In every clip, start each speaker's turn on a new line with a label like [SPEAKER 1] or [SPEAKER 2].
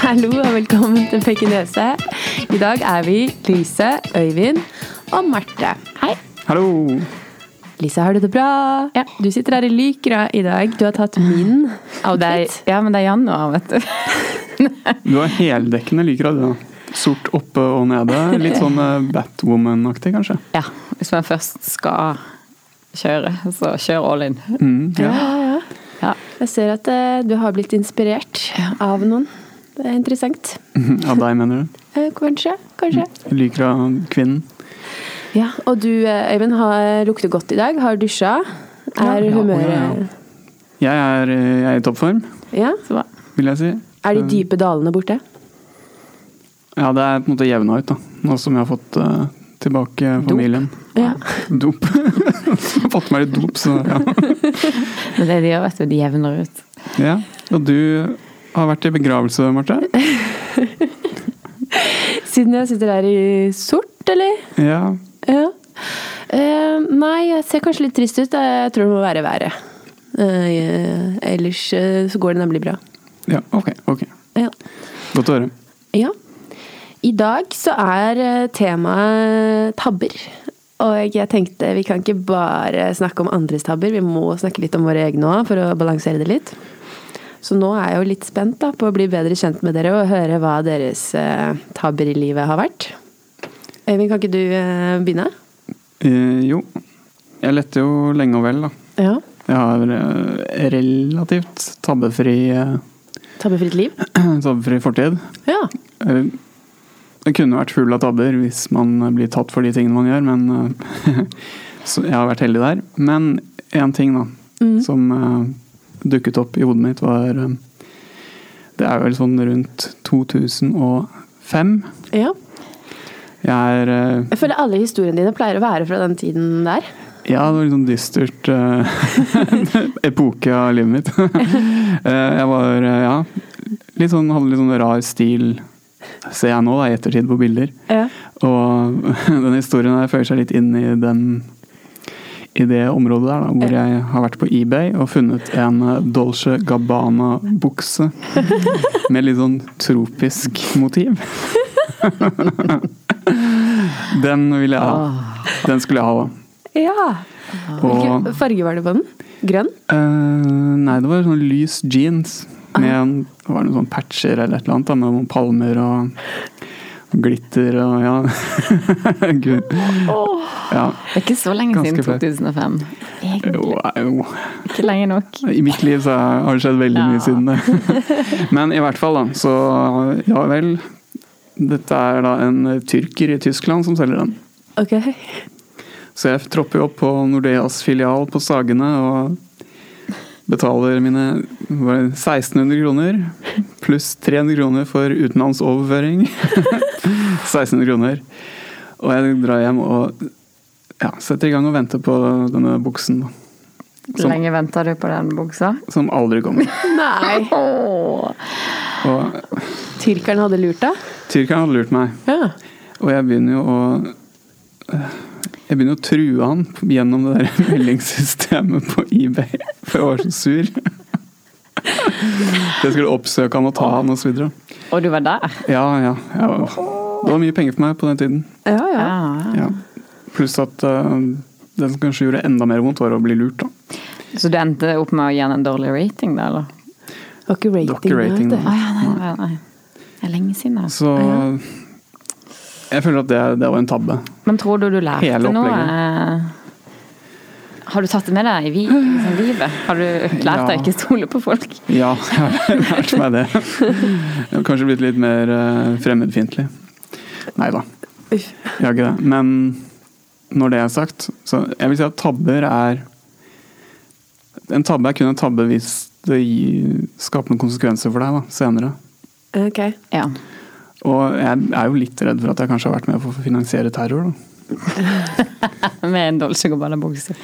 [SPEAKER 1] Hallo og velkommen til Pekinese. I dag er vi Lise, Øyvind og Marte. Hei.
[SPEAKER 2] Hallo!
[SPEAKER 1] Lise, har du det bra?
[SPEAKER 3] Ja.
[SPEAKER 1] Du sitter her i lykra i dag. Du har tatt min outfit.
[SPEAKER 3] ja, men det er januar, vet du.
[SPEAKER 2] Du har heldekkende lykrad. du, da. Sort oppe og nede. Litt sånn eh, Batwoman-aktig, kanskje.
[SPEAKER 3] Ja, hvis man først skal kjøre, så kjør all in.
[SPEAKER 2] Mm, ja.
[SPEAKER 1] ja.
[SPEAKER 3] Ja.
[SPEAKER 1] Jeg ser at eh, du har blitt inspirert av noen. Det er interessant.
[SPEAKER 2] Av deg, mener du?
[SPEAKER 1] Eh, Kanskje. Kanskje.
[SPEAKER 2] Lykra-kvinnen.
[SPEAKER 1] Mm. Ja. Og du, eh, Øyvind, har lukter godt i dag. Har dusja. Er
[SPEAKER 2] Ja,
[SPEAKER 1] humøret
[SPEAKER 2] Jeg er, eh, jeg er i toppform,
[SPEAKER 1] Ja.
[SPEAKER 3] Så bra.
[SPEAKER 2] vil jeg si.
[SPEAKER 1] Er de dype dalene borte?
[SPEAKER 2] Ja, det er på en måte jevna ut, da. Nå som jeg har fått eh, tilbake familien.
[SPEAKER 1] Ja.
[SPEAKER 2] Dop. jeg har fått meg litt dop, så ja.
[SPEAKER 3] Men det de gjør, vet du, de jevner ut.
[SPEAKER 2] ja. Og du har vært i begravelse, Marte?
[SPEAKER 1] Siden jeg sitter her i sort, eller?
[SPEAKER 2] Ja.
[SPEAKER 1] Ja. Eh, nei, jeg ser kanskje litt trist ut. Eh, Jeg tror det må være været. Eh, ellers eh, så går det nemlig bra.
[SPEAKER 2] ja. Ok. ok.
[SPEAKER 1] Ja.
[SPEAKER 2] Godt å høre.
[SPEAKER 1] ja. I dag så er eh, temaet tabber. Og jeg tenkte vi kan ikke bare snakke om andres tabber, vi må snakke litt om våre egne òg, for å balansere det litt. Så nå er jeg jo litt spent da, på å bli bedre kjent med dere og høre hva deres eh, tabber i livet har vært. Øyvind, kan ikke du eh, begynne?
[SPEAKER 2] Eh, jo. Jeg lette jo lenge og vel, da.
[SPEAKER 1] Ja.
[SPEAKER 2] Jeg har eh, relativt tabbefri, eh,
[SPEAKER 1] Tabbefritt liv?
[SPEAKER 2] tabbefri fortid.
[SPEAKER 1] Ja.
[SPEAKER 2] Eller, Jeg kunne vært full av tabber hvis man eh, blir tatt for de tingene man gjør, men eh, så jeg har vært heldig der. Men én ting da, som eh, dukket opp i hodet mitt, var eh, Det er vel sånn rundt 2005.
[SPEAKER 1] ja.
[SPEAKER 2] Jeg er eh,
[SPEAKER 1] Jeg føler alle historiene dine pleier å være fra den tiden der.
[SPEAKER 2] Ja, det var litt sånn dystert eh, epoke av livet mitt. Eh, jeg var, eh, ja, litt sånn, hadde litt sånn rar stil, ser jeg nå da, i ettertid på bilder.
[SPEAKER 1] Ja.
[SPEAKER 2] Og den historien her føyer seg litt inn i, den, i det området der, da, hvor jeg har vært på eBay og funnet en eh, Dolce Gabbana-bukse med litt sånn tropisk motiv. den ville jeg ha. Den skulle jeg ha, da. Og,
[SPEAKER 1] Hvilken farge var det på den? Grønn?
[SPEAKER 2] eh, nei, det var sånn lys jeans med en, det var noen sånne patcher eller et eller annet, da, med noen palmer og glitter og ja. Gud. ja.
[SPEAKER 3] Det er ikke så lenge
[SPEAKER 2] Ganske
[SPEAKER 3] siden
[SPEAKER 2] flaut.
[SPEAKER 3] 2005.
[SPEAKER 2] Jo, jo.
[SPEAKER 3] Ikke lenge nok.
[SPEAKER 2] I mitt liv så har det skjedd veldig mye
[SPEAKER 3] Ja.
[SPEAKER 2] siden det. Men i hvert fall, da. Så ja vel. Dette er da en tyrker i Tyskland som selger den.
[SPEAKER 1] Ok.
[SPEAKER 2] Så jeg tropper jo opp på Nordeas filial på Sagene og betaler mine hva er det, 1600 kroner pluss 300 kroner for utenlandsoverføring. 1600 kroner. Og jeg drar hjem og ja, setter i gang og venter på denne buksen, da.
[SPEAKER 3] Hvor lenge venta du på den buksa?
[SPEAKER 2] Som aldri kommer.
[SPEAKER 1] Nei.
[SPEAKER 3] Åh.
[SPEAKER 2] Og
[SPEAKER 1] Tyrkeren hadde lurt deg?
[SPEAKER 2] tyrkeren hadde lurt meg.
[SPEAKER 1] Ja.
[SPEAKER 2] Og jeg begynner jo å eh, jeg begynner å true han gjennom det der meldingssystemet på eBay, for jeg var så sur. Jeg skulle oppsøke han og ta han osv.
[SPEAKER 3] Og du var der?
[SPEAKER 2] Ja, ja. Jeg var, det var mye penger for meg på den tiden.
[SPEAKER 1] Ja, ja.
[SPEAKER 3] Ja.
[SPEAKER 2] Ja. Pluss at eh, det som kanskje gjorde enda mer vondt, var å bli lurt, da.
[SPEAKER 3] Så du endte opp med å gi den en dårlig rating, da, eller?
[SPEAKER 1] Det var ikke
[SPEAKER 2] Det var ikke
[SPEAKER 1] rating.
[SPEAKER 2] rating,
[SPEAKER 1] vet du.
[SPEAKER 2] da.
[SPEAKER 3] Å ja, nei, nei, nei. Det er lenge siden, altså.
[SPEAKER 2] Så jeg føler at det, det var en tabbe.
[SPEAKER 3] Men tror du du
[SPEAKER 2] Hele
[SPEAKER 3] lærte noe? eh, Har du tatt det med deg i vi- liksom, livet? Har du lært deg
[SPEAKER 2] Ja.
[SPEAKER 3] å ikke stole på folk?
[SPEAKER 2] Ja, jeg har lært meg det. Jeg har kanskje blitt litt mer eh, fremmedfiendtlig. Nei da,
[SPEAKER 1] Uff.
[SPEAKER 2] jeg har ikke det. Men når det er sagt, så jeg vil si at tabber er En tabbe er kun en tabbe hvis det gir- skaper noen konsekvenser for deg da, senere.
[SPEAKER 1] Ok.
[SPEAKER 3] Ja.
[SPEAKER 2] Og jeg er jo litt redd for at jeg kanskje har vært med på å finansiere terror. da.
[SPEAKER 3] Med en Dolce Gabbana-bukse.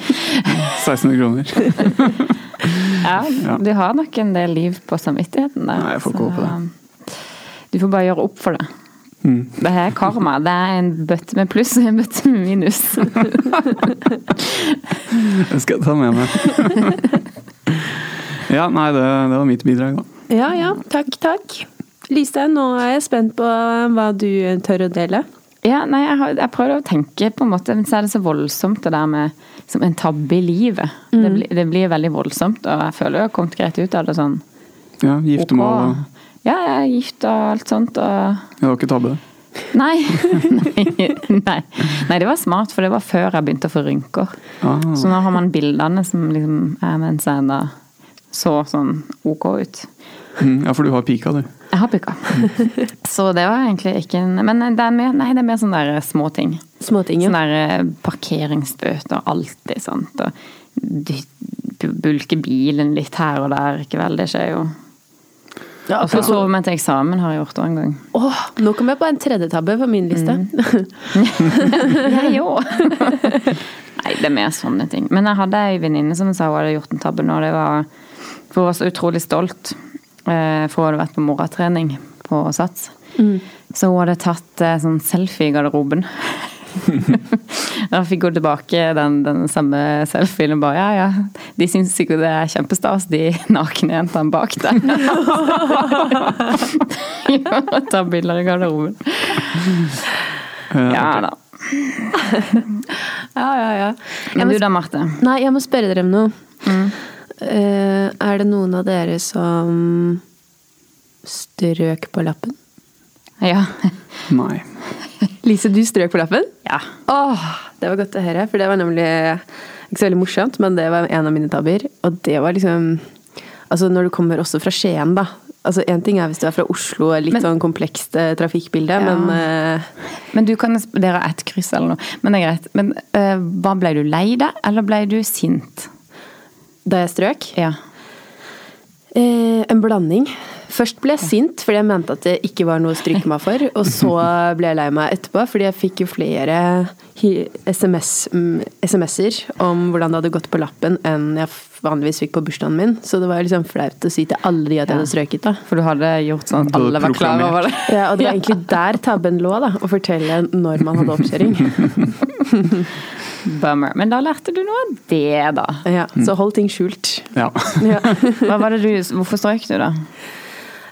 [SPEAKER 2] 1600 kroner.
[SPEAKER 3] Ja,
[SPEAKER 2] Ja.
[SPEAKER 3] du har nok en del liv på samvittigheten der.
[SPEAKER 2] Nei, jeg får ikke
[SPEAKER 3] så,
[SPEAKER 2] håpe det.
[SPEAKER 3] um, Du får bare gjøre opp for det.
[SPEAKER 2] Mm.
[SPEAKER 3] Det her er karma. Det er en bøtte med pluss og en bøtte med minus.
[SPEAKER 2] Det skal jeg ta med meg. Ja, nei, det, det var mitt bidrag, da.
[SPEAKER 1] Ja, ja. Takk, takk. Lystein, nå er jeg spent på hva du tør å dele.
[SPEAKER 3] Ja, nei, jeg, har, jeg prøvde å tenke på en måte, men så er det så voldsomt det der med som en tabbe i livet. Det, blir, det blir veldig voldsomt, og jeg føler jeg har kommet greit ut av det sånn.
[SPEAKER 2] Ja, Giftermål og
[SPEAKER 3] ok. Ja, jeg er gift og alt sånt. og...
[SPEAKER 2] Ja, det var ikke tabbe.
[SPEAKER 3] Nei. nei. nei. Nei, det var smart, for det var før jeg begynte å få rynker.
[SPEAKER 2] Ah.
[SPEAKER 3] Så nå har man bildene som liksom er mens jeg ennå så sånn ok ut.
[SPEAKER 2] Mm, Ja, for du har pika, du.
[SPEAKER 3] Jeg har pika. Så det var egentlig ikke en Men det er mer, nei, det er mer sånne der eh, små ting.
[SPEAKER 1] Småting, ja.
[SPEAKER 3] Sånne der eh, parkeringsbøter, alltid, sant. Og dyt- bulke bilen litt her og der, ikke vel. Det skjer jo.
[SPEAKER 1] Ja,
[SPEAKER 3] Og så sove meg til eksamen har jeg gjort òg en gang.
[SPEAKER 1] Åh, nå kom jeg på en tredje tabbe på min liste.
[SPEAKER 3] Jeg òg. Nei, det er mer sånne ting. Men jeg hadde ei venninne som sa hun hadde gjort en tabbe nå. Det var, for hun var så utrolig stolt, eh, for hun hadde vært på morgentrening på Sats. Så hun hadde tatt eh, sånn selfie i garderoben. Da fikk hun tilbake den, den samme selfien og bare ja, ja. De syns sikkert det er kjempestas, de nakne jentene bak der. Ja, Ta bilder i garderoben.
[SPEAKER 2] Eh,
[SPEAKER 3] Ja da.
[SPEAKER 1] Ja, ja, ja. Jeg
[SPEAKER 3] Men
[SPEAKER 1] må,
[SPEAKER 3] du da, Marte?
[SPEAKER 1] nei, jeg må spørre dere om noe. Mm. Eh, er det noen av dere som strøk på lappen?
[SPEAKER 3] Ja.
[SPEAKER 2] Nei.
[SPEAKER 1] Lise, du strøk på lappen?
[SPEAKER 3] ja.
[SPEAKER 1] Åh, det var godt å høre, for det var nemlig ikke så veldig morsomt, men det var en av mine tabber. Og det var liksom Altså, når du kommer også fra Skien, da. Altså, Én ting er hvis du er fra Oslo, og litt
[SPEAKER 3] Men-
[SPEAKER 1] sånn komplekst eh, trafikkbilde,
[SPEAKER 3] Ja.
[SPEAKER 1] men eh,
[SPEAKER 3] Men du kan dere har ett kryss eller noe. Men det er greit. Men eh, hva ble du lei deg, eller ble du sint?
[SPEAKER 1] da jeg strøk
[SPEAKER 3] Ja.
[SPEAKER 1] eh, En blanding. Først ble jeg sint fordi jeg mente at det ikke var noe å stryke meg for. Og så ble jeg lei meg etterpå fordi jeg fikk jo flere hi- SMS mm, SMS-er om hvordan det hadde gått på lappen enn jeg vanligvis fikk på bursdagen min. Så det var jo liksom flaut å si til alle de at jeg hadde strøket, da.
[SPEAKER 3] For du hadde gjort sånn at
[SPEAKER 2] Du hadde
[SPEAKER 3] alle var klar
[SPEAKER 2] proklamert.
[SPEAKER 3] over det.
[SPEAKER 1] Ja, og det var egentlig der tabben lå, da. Å fortelle når man hadde oppkjøring.
[SPEAKER 3] Bummer. Men da lærte du noe av det, da.
[SPEAKER 1] Ja, så hold ting skjult.
[SPEAKER 2] Ja.
[SPEAKER 1] Ja.
[SPEAKER 3] Hva var det du, hvorfor strøk du, da?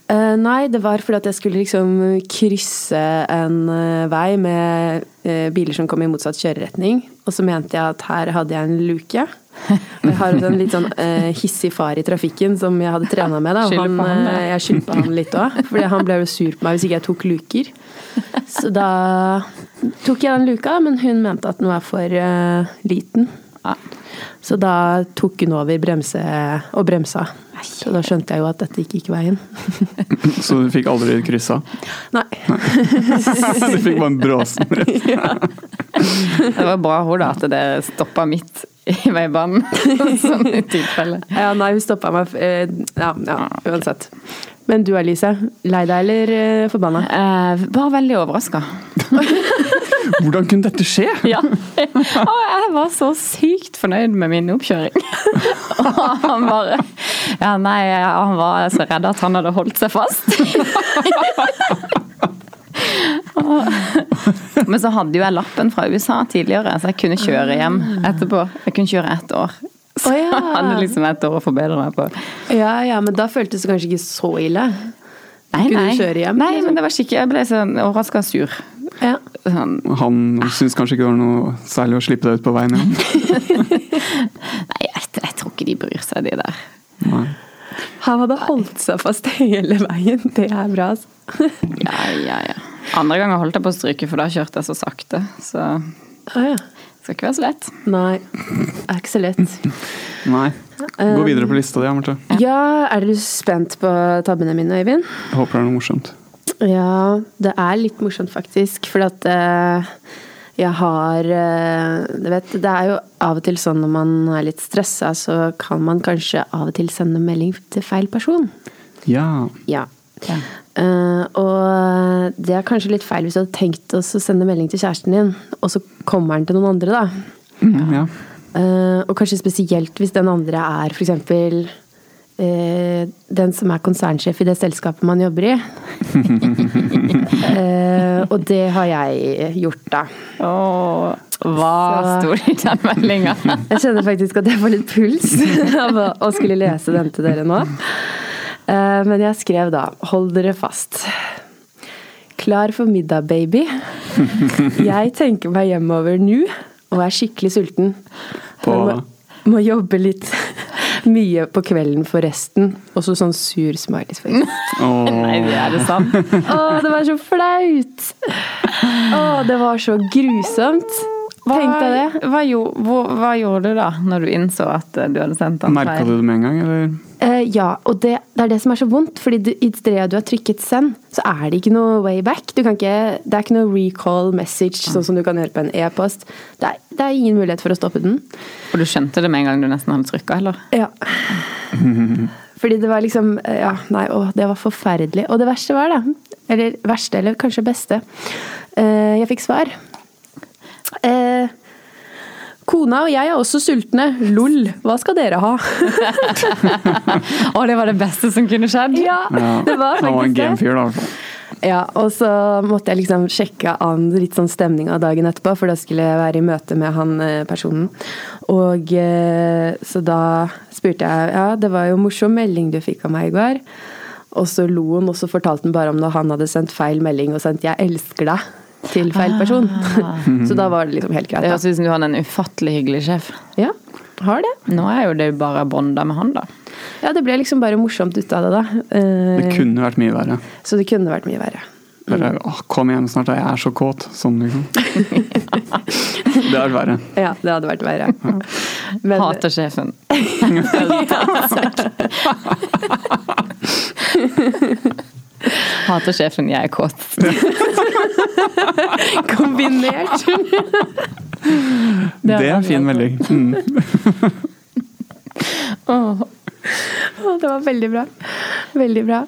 [SPEAKER 1] Eh, nei, det var fordi at jeg skulle liksom krysse en eh, vei med eh, biler som kom i motsatt kjøreretning. Og så mente jeg at her hadde jeg en luke. Og jeg har også en litt sånn eh, hissig far i trafikken som jeg hadde trena med. Da. og
[SPEAKER 3] Skylder
[SPEAKER 1] Han,
[SPEAKER 3] på han, ja.
[SPEAKER 1] eh, jeg skyldte på han litt òg, for han ble jo sur på meg hvis ikke jeg tok luker. Så da tok jeg den luka, men hun mente at den var for eh, liten.
[SPEAKER 3] Ja.
[SPEAKER 1] Så da tok hun over bremse og bremsa. Så da skjønte jeg jo at dette gikk ikke veien.
[SPEAKER 2] Så du fikk aldri kryssa?
[SPEAKER 1] Nei.
[SPEAKER 2] Du fikk bare en bråsen rett.
[SPEAKER 3] Det var bra hun da, at dere stoppa midt i veibanen. sånn i tilfelle.
[SPEAKER 1] Ja, nei, hun stoppa meg. eh, Ja, ja, uansett. Men du Alice, lei deg eller eh, forbanna?
[SPEAKER 3] Eh, bare veldig overraska.
[SPEAKER 2] Hvordan kunne dette skje?
[SPEAKER 3] Ja. Og jeg var så sykt fornøyd med min oppkjøring. Og han bare Ja, nei, han var så redd at han hadde holdt seg fast. Men så hadde jo jeg lappen fra USA tidligere, så jeg kunne kjøre hjem etterpå. Jeg kunne kjøre ett år. Så
[SPEAKER 1] Å, ja.
[SPEAKER 3] jeg hadde liksom ett år å forbedre meg på.
[SPEAKER 1] Ja, ja, men da føltes det kanskje ikke så ille.
[SPEAKER 3] Nei,
[SPEAKER 1] Kunne du
[SPEAKER 3] nei.
[SPEAKER 1] kjøre hjem, liksom?
[SPEAKER 3] Nei, men det var skikkelig Jeg ble sånn overraska sur.
[SPEAKER 1] Ja.
[SPEAKER 3] Sånn,
[SPEAKER 2] Han syns kanskje ikke det var noe særlig å slippe deg ut på veien igjen.
[SPEAKER 3] nei, jeg, jeg tror ikke de bryr seg, de der.
[SPEAKER 2] Nei.
[SPEAKER 1] Han hadde holdt seg fast hele veien. Det er bra, altså.
[SPEAKER 3] Ja, ja, ja. Andre ganger holdt jeg på å stryke, for da kjørte jeg så sakte. Så det
[SPEAKER 1] Å, ja.
[SPEAKER 3] skal ikke være så lett.
[SPEAKER 1] Nei, det er ikke så lett.
[SPEAKER 2] Nei.
[SPEAKER 1] Um,
[SPEAKER 2] Gå videre på lista di, Marte.
[SPEAKER 1] Ja, er du spent på tabbene mine, Øyvind?
[SPEAKER 2] Jeg Håper det er noe morsomt.
[SPEAKER 1] Ja, det er litt morsomt faktisk, for at eh, jeg har eh, Du vet, det er jo av og til sånn når man er litt stressa, så kan man kanskje av og til sende melding til feil person.
[SPEAKER 2] Ja.
[SPEAKER 1] Ja. Eh, og det er kanskje litt feil hvis du hadde tenkt å sende melding til kjæresten din, og så kommer den til noen andre, da.
[SPEAKER 2] Mm, ja.
[SPEAKER 1] Eh, og kanskje spesielt hvis den andre er f.eks. Uh, den som er konsernsjef i det selskapet man jobber i. Eh, og det har jeg gjort, da.
[SPEAKER 3] Åh, hva
[SPEAKER 1] Så-
[SPEAKER 3] sto det i den meldinga?
[SPEAKER 1] Jeg kjenner faktisk at jeg får litt puls av å- å skulle lese den til dere nå. Eh, Men jeg skrev da 'Hold dere fast'. Klar for middag, baby. Jeg tenker meg hjemover nå og er skikkelig sulten.
[SPEAKER 2] På-
[SPEAKER 1] Men må, må jobbe litt mye på kvelden forresten. Og så sånn sur smiley-face.
[SPEAKER 2] Åh.
[SPEAKER 3] Nei, er det sant?
[SPEAKER 1] Å, det var så flaut! Å, det var så grusomt. Tenk deg det.
[SPEAKER 3] Hva, gjo- hvor- hva gjorde du da, når du innså at eh, du hadde sendt han
[SPEAKER 2] Merka du det med en gang, eller?
[SPEAKER 1] Eh, ja, og det, det er det som er så vondt. Fordi du, i det du har trykket 'send', så er det ikke noe way back. Du kan ikke, det er ikke noe recall message, sånn som du kan gjøre på en e-post. Det, er- det er ingen mulighet for å stoppe den.
[SPEAKER 3] Og du skjønte det med en gang du nesten hadde trykka, eller?
[SPEAKER 1] Ja. Fordi det var liksom eh, Ja, nei, å, det var forferdelig. Og det verste var, da Eller verste, eller kanskje beste. eh, jeg fikk svar. Eh, Kona og jeg er også sultne. Lol, hva skal dere ha?
[SPEAKER 3] Å, det var det beste som kunne skjedd!
[SPEAKER 1] Ja,
[SPEAKER 2] Ja.
[SPEAKER 1] det var
[SPEAKER 2] Han var en
[SPEAKER 1] faktisk det.
[SPEAKER 2] gamefyr, da. i hvert fall.
[SPEAKER 1] Ja, og så måtte jeg liksom sjekke an litt sånn stemning av dagen etterpå, for da skulle jeg være i møte med han eh, personen. Og eh, så da spurte jeg Ja, det var jo morsom melding du fikk av meg i går. Og så lo han, og så fortalte han bare om når han hadde sendt feil melding og sendt 'jeg elsker deg' til feil person. så da var det liksom helt greit.
[SPEAKER 3] Det
[SPEAKER 1] Da.
[SPEAKER 3] høres ut som du hadde en ufattelig hyggelig sjef.
[SPEAKER 1] Ja, har det.
[SPEAKER 3] Nå er jo det bare bonda med han, da.
[SPEAKER 1] Ja, det ble liksom bare morsomt ut av det, da. Eh,
[SPEAKER 2] Det kunne vært mye verre.
[SPEAKER 1] Så det kunne vært mye verre.
[SPEAKER 2] Bare, åh, kom hjem snart, da, jeg er så kåt. Sånn, liksom. Det er verre.
[SPEAKER 1] Ja, det hadde vært verre. Men-
[SPEAKER 3] Hater sjefen. Hater sjefen, jeg er kåt.
[SPEAKER 1] kombinert.
[SPEAKER 3] Det er
[SPEAKER 2] Det er en fin melding. Mm.
[SPEAKER 1] Å, Det var veldig bra. Veldig bra.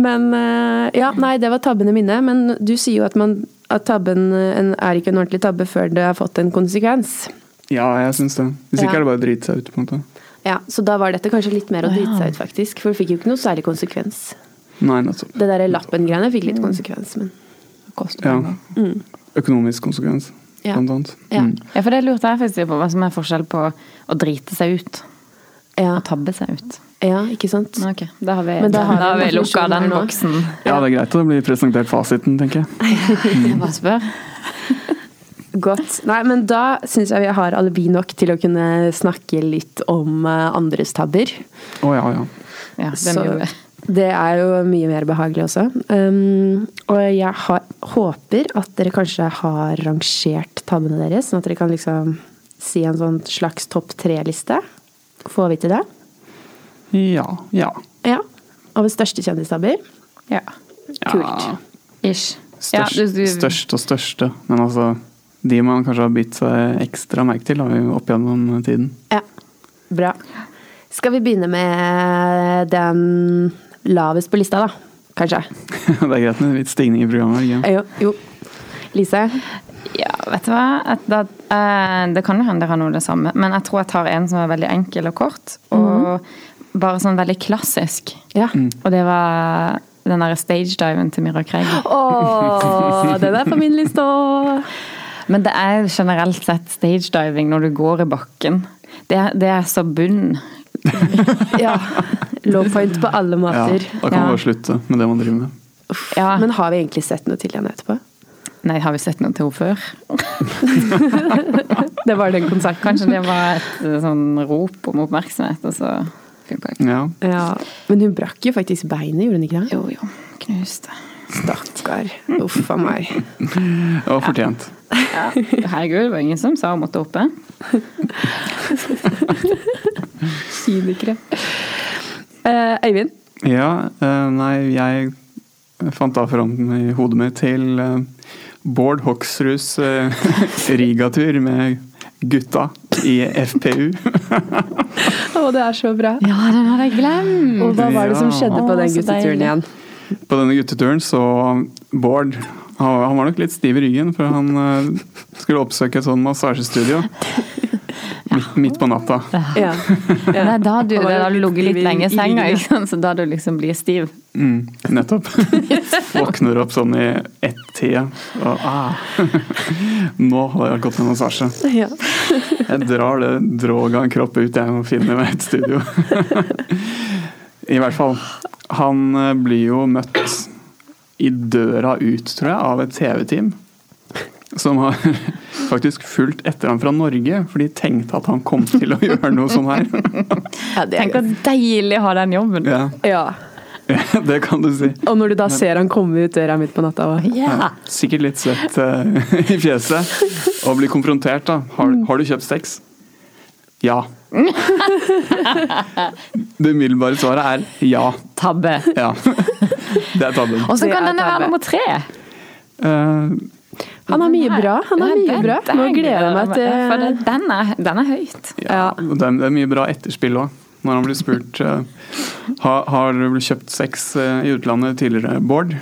[SPEAKER 1] Men eh, Ja, nei, det var tabbene mine. Men du sier jo at, man, at tabben eh, en- er ikke en ordentlig tabbe før det har fått en konsekvens.
[SPEAKER 2] Ja, jeg syns det. Hvis
[SPEAKER 1] Ja.
[SPEAKER 2] ikke er det bare å drite seg ut. på en måte.
[SPEAKER 1] Ja, Så da var dette kanskje litt mer å drite seg ut, faktisk. For det fikk jo ikke noe særlig konsekvens.
[SPEAKER 2] Nei, nettopp.
[SPEAKER 1] Det derre lappen-greiene fikk litt konsekvens, men
[SPEAKER 3] Koster
[SPEAKER 2] Ja.
[SPEAKER 3] penger.
[SPEAKER 2] Økonomisk konsekvens,
[SPEAKER 1] Mm. Ja.
[SPEAKER 2] blant annet.
[SPEAKER 1] ja.
[SPEAKER 2] Mm.
[SPEAKER 3] Ja, for det lurte jeg faktisk på. Hva som er forskjell på å drite seg ut
[SPEAKER 1] Ja,
[SPEAKER 3] og tabbe seg ut.
[SPEAKER 1] ja ikke sant?
[SPEAKER 3] Ok, da har vi,
[SPEAKER 1] Men da
[SPEAKER 3] da
[SPEAKER 1] har vi
[SPEAKER 3] har vi
[SPEAKER 1] en
[SPEAKER 3] lukka
[SPEAKER 1] definisjon
[SPEAKER 3] den
[SPEAKER 1] her nå.
[SPEAKER 3] boksen.
[SPEAKER 2] Ja, det er greit at det blir presentert fasiten, tenker jeg.
[SPEAKER 3] Jeg bare spør.
[SPEAKER 1] Godt. Nei, men da syns jeg vi har alibi nok til å kunne snakke litt om eh, andres tabber.
[SPEAKER 2] Å ja, ja.
[SPEAKER 3] Ja, det
[SPEAKER 1] Så
[SPEAKER 3] gjorde vi.
[SPEAKER 1] det er jo mye mer behagelig også. Um, og jeg har, håper at dere kanskje har rangert tabbene deres, sånn at dere kan liksom si en sånn slags topp tre-liste. Får vi til det?
[SPEAKER 2] Ja. ja.
[SPEAKER 1] Ja. Over største kjendistabber.
[SPEAKER 3] Ja.
[SPEAKER 1] Kult.
[SPEAKER 3] Ish.
[SPEAKER 2] Størst, størst og største. Men altså, de man kanskje har bitt seg ekstra merke til da, opp gjennom tiden.
[SPEAKER 1] Ja. Bra. Skal vi begynne med den lavest på lista, da? Kanskje.
[SPEAKER 2] det er greit med litt stigning i programmet. er det ikke?
[SPEAKER 1] Eh, Jo. jo. Lise?
[SPEAKER 3] Ja, vet du hva? At da, eh, det kan jo hende dere har noe av det samme, men jeg tror jeg tar en som er veldig enkel og kort. Og bare sånn veldig klassisk.
[SPEAKER 1] Ja.
[SPEAKER 3] Og det var den derre stagediven til Mira Craig.
[SPEAKER 1] Å, den er på min liste òg!
[SPEAKER 3] Men det er generelt sett stagediving når du går i bakken. Det, er- det er så bunn.
[SPEAKER 1] Ja. Low point på alle
[SPEAKER 2] Ja,
[SPEAKER 1] måter.
[SPEAKER 2] da kan man
[SPEAKER 3] Ja.
[SPEAKER 2] bare slutte med det man driver med.
[SPEAKER 3] Ja.
[SPEAKER 1] Men har vi egentlig sett noe til henne etterpå?
[SPEAKER 3] Nei, har vi sett noe til henne før?
[SPEAKER 1] Det var den konserten.
[SPEAKER 3] Kanskje det var et eh, sånn rop om oppmerksomhet, og så funka ikke.
[SPEAKER 2] Ja.
[SPEAKER 1] Ja. Men hun brakk jo faktisk beinet, gjorde hun ikke det?
[SPEAKER 3] Jo, jo. Knuste.
[SPEAKER 1] Stakkar. Uff a meg.
[SPEAKER 2] Det var fortjent.
[SPEAKER 3] Herregud, det var ingen som sa hun måtte oppe.
[SPEAKER 1] Kynikere. Eh, Øyvind?
[SPEAKER 2] Ja, eh, nei, jeg fant da fram i hodet mitt til eh, Bård Hoksruds eh, rigatur med gutta i FPU.
[SPEAKER 1] Å, det er så bra.
[SPEAKER 3] Ja, den hadde jeg glemt!
[SPEAKER 1] Og hva var det som
[SPEAKER 2] Ja.
[SPEAKER 1] skjedde på
[SPEAKER 3] Å,
[SPEAKER 1] den
[SPEAKER 3] så
[SPEAKER 1] gutteturen igjen?
[SPEAKER 3] deilig.
[SPEAKER 2] På denne gutteturen så Bård han han var nok litt stiv i ryggen, for han eh, skulle oppsøke et sånn massasjestudio midt, midt på natta.
[SPEAKER 1] Ja.
[SPEAKER 3] Det er da du,
[SPEAKER 1] Han var
[SPEAKER 3] det er da
[SPEAKER 1] jo
[SPEAKER 3] du ligger litt
[SPEAKER 1] aktiv i-
[SPEAKER 3] lenge i
[SPEAKER 1] i
[SPEAKER 3] senga,
[SPEAKER 1] ryggen,
[SPEAKER 3] ikke sant? så da du liksom blir stiv.
[SPEAKER 2] Mm, nettopp. Våkner opp sånn i ett-tida og ah, Nå hadde jeg gått med massasje.
[SPEAKER 1] ja.
[SPEAKER 2] Jeg drar det droget av en kropp ut jeg og finner meg et studio. I hvert fall. Han eh, blir jo møtt i døra ut, tror jeg, av et TV-team. Som har faktisk fulgt etter ham fra Norge, for de tenkte at han kom til å gjøre noe sånn her.
[SPEAKER 1] Ja, det er
[SPEAKER 3] Tenk hvor deilig å ha den jobben.
[SPEAKER 2] Ja,
[SPEAKER 1] Ja.
[SPEAKER 2] det kan du si.
[SPEAKER 1] Og når du da ser han komme ut døra midt på natta og
[SPEAKER 2] Ja, sikkert litt svett eh, i fjeset. Og blir konfrontert, da. Har, har du kjøpt sex? Ja. Det umiddelbare svaret er ja.
[SPEAKER 3] Tabbe.
[SPEAKER 2] ja. Det er tabben.
[SPEAKER 3] Og så
[SPEAKER 1] Det
[SPEAKER 3] kan
[SPEAKER 1] er
[SPEAKER 3] denne være
[SPEAKER 1] tabbe.
[SPEAKER 3] nummer tre.
[SPEAKER 2] Eh,
[SPEAKER 1] Han har mye bra. Han har mye bra. Nå gleder jeg meg
[SPEAKER 3] For
[SPEAKER 1] til
[SPEAKER 3] det- den er, den er høyt.
[SPEAKER 2] Ja, og Det, er, det er mye bra etterspill òg. Når han blir spurt eh, har, har du blitt kjøpt sex eh, i utlandet tidligere, Bård?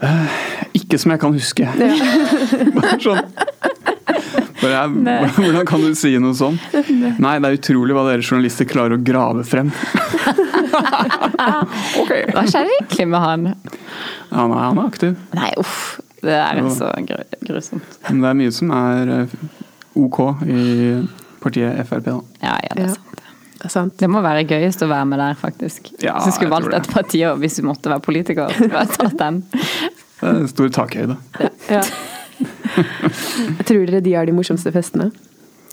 [SPEAKER 2] «Eh, ikke som jeg kan huske. Bare sånn. Bare jeg, hvordan kan du si noe sånn? Nei, det er utrolig hva dere journalister klarer å grave frem. ok.
[SPEAKER 3] Hva skjer egentlig med han?
[SPEAKER 2] Han er, han er aktiv.
[SPEAKER 3] Nei, uff. Det er så gru- grusomt.
[SPEAKER 2] Men det er mye som er eh, ok i partiet Frp, da.
[SPEAKER 3] Ja, ja, det
[SPEAKER 1] Ja.
[SPEAKER 3] er sant.
[SPEAKER 1] Det er sant.
[SPEAKER 3] Det må være gøyest å være med der, faktisk.
[SPEAKER 2] Ja,
[SPEAKER 3] Hvis du skulle
[SPEAKER 2] jeg
[SPEAKER 3] valgt
[SPEAKER 2] tror
[SPEAKER 3] et parti og hvis du måtte være politiker, skulle jeg tatt den.
[SPEAKER 2] Det er stor takhøyde.
[SPEAKER 1] Ja. Tror dere de har de morsomste festene?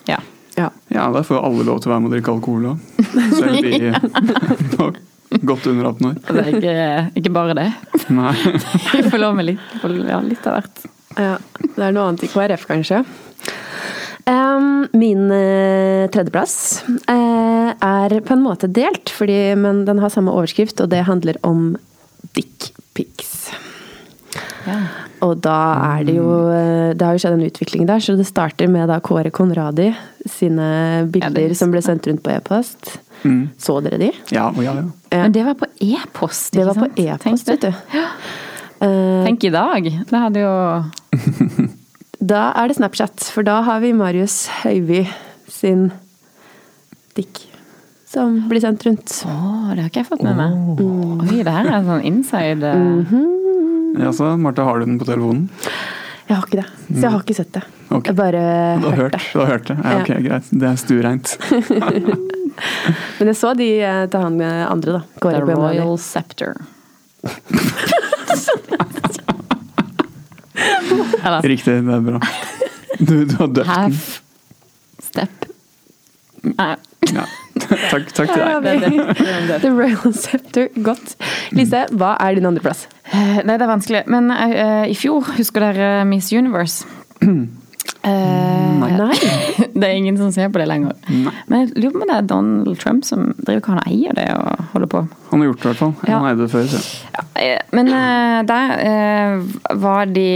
[SPEAKER 3] Ja.
[SPEAKER 1] Ja.
[SPEAKER 2] Ja, der får jo alle lov til å være med og drikke alkohol òg. Selv de var godt under 18 år.
[SPEAKER 3] Og det er ikke, ikke bare det.
[SPEAKER 2] Nei.
[SPEAKER 3] Vi får lov med litt, får- ja, litt av hvert.
[SPEAKER 1] Ja, Det er noe annet i KrF, kanskje. Ehm, min eh, tredjeplass eh, er på en måte delt, fordi, men den har samme overskrift, og det handler om dickpics.
[SPEAKER 3] Ja.
[SPEAKER 1] Og da er det jo eh, Det har jo skjedd en utvikling der, så det starter med da Kåre Konradi sine bilder
[SPEAKER 3] visste
[SPEAKER 1] som ble sendt rundt på e-post. Så dere de?
[SPEAKER 2] Ja, og ja, ja.
[SPEAKER 1] Ja.
[SPEAKER 3] Men det var på e-post,
[SPEAKER 1] Det
[SPEAKER 3] ikke
[SPEAKER 1] var på
[SPEAKER 3] sant?
[SPEAKER 1] e-post,
[SPEAKER 3] Tenk
[SPEAKER 1] vet
[SPEAKER 3] det.
[SPEAKER 1] du. Eh,
[SPEAKER 3] Tenk i dag. Det hadde jo
[SPEAKER 1] Da er det Snapchat, for da har vi Marius Høiby sin dick som blir sendt rundt.
[SPEAKER 3] Å, det har ikke jeg fått med meg. Oi, det her er en sånn inside eh,
[SPEAKER 2] ja så Marte, har du den på telefonen?
[SPEAKER 1] Jeg har ikke det, så jeg har ikke sett det.
[SPEAKER 2] Mm. Ok.
[SPEAKER 1] Jeg bare
[SPEAKER 2] Du har hørt,
[SPEAKER 1] det.
[SPEAKER 2] du har hørt det? Ja, ok, greit. Det er stuereint.
[SPEAKER 1] Men jeg så de eh, til han eh, andre, da. Kåre
[SPEAKER 3] The
[SPEAKER 1] på Emily.
[SPEAKER 3] Royal Scepter. Eller
[SPEAKER 2] Riktig, det er bra. Du, du har døpt den.
[SPEAKER 3] half step. Nei,
[SPEAKER 2] Ja. Takk, takk til deg.
[SPEAKER 3] det, er det, det er det.
[SPEAKER 1] The Royal Scepter. Godt. Lise, hva er din andreplass?
[SPEAKER 3] Eh, Nei, det er vanskelig. Men eh, i fjor, husker dere Miss Universe? Mm, Eh,
[SPEAKER 1] Nei.
[SPEAKER 3] det er ingen som ser på det lenger. Men jeg lurer på om det er Donald Trump som driver hva han eier det og holder på.
[SPEAKER 2] Han har gjort det, i hvert fall.
[SPEAKER 3] Ja.
[SPEAKER 2] Han eide det før. Så.
[SPEAKER 3] Ja, eh, Men eh, der eh, var de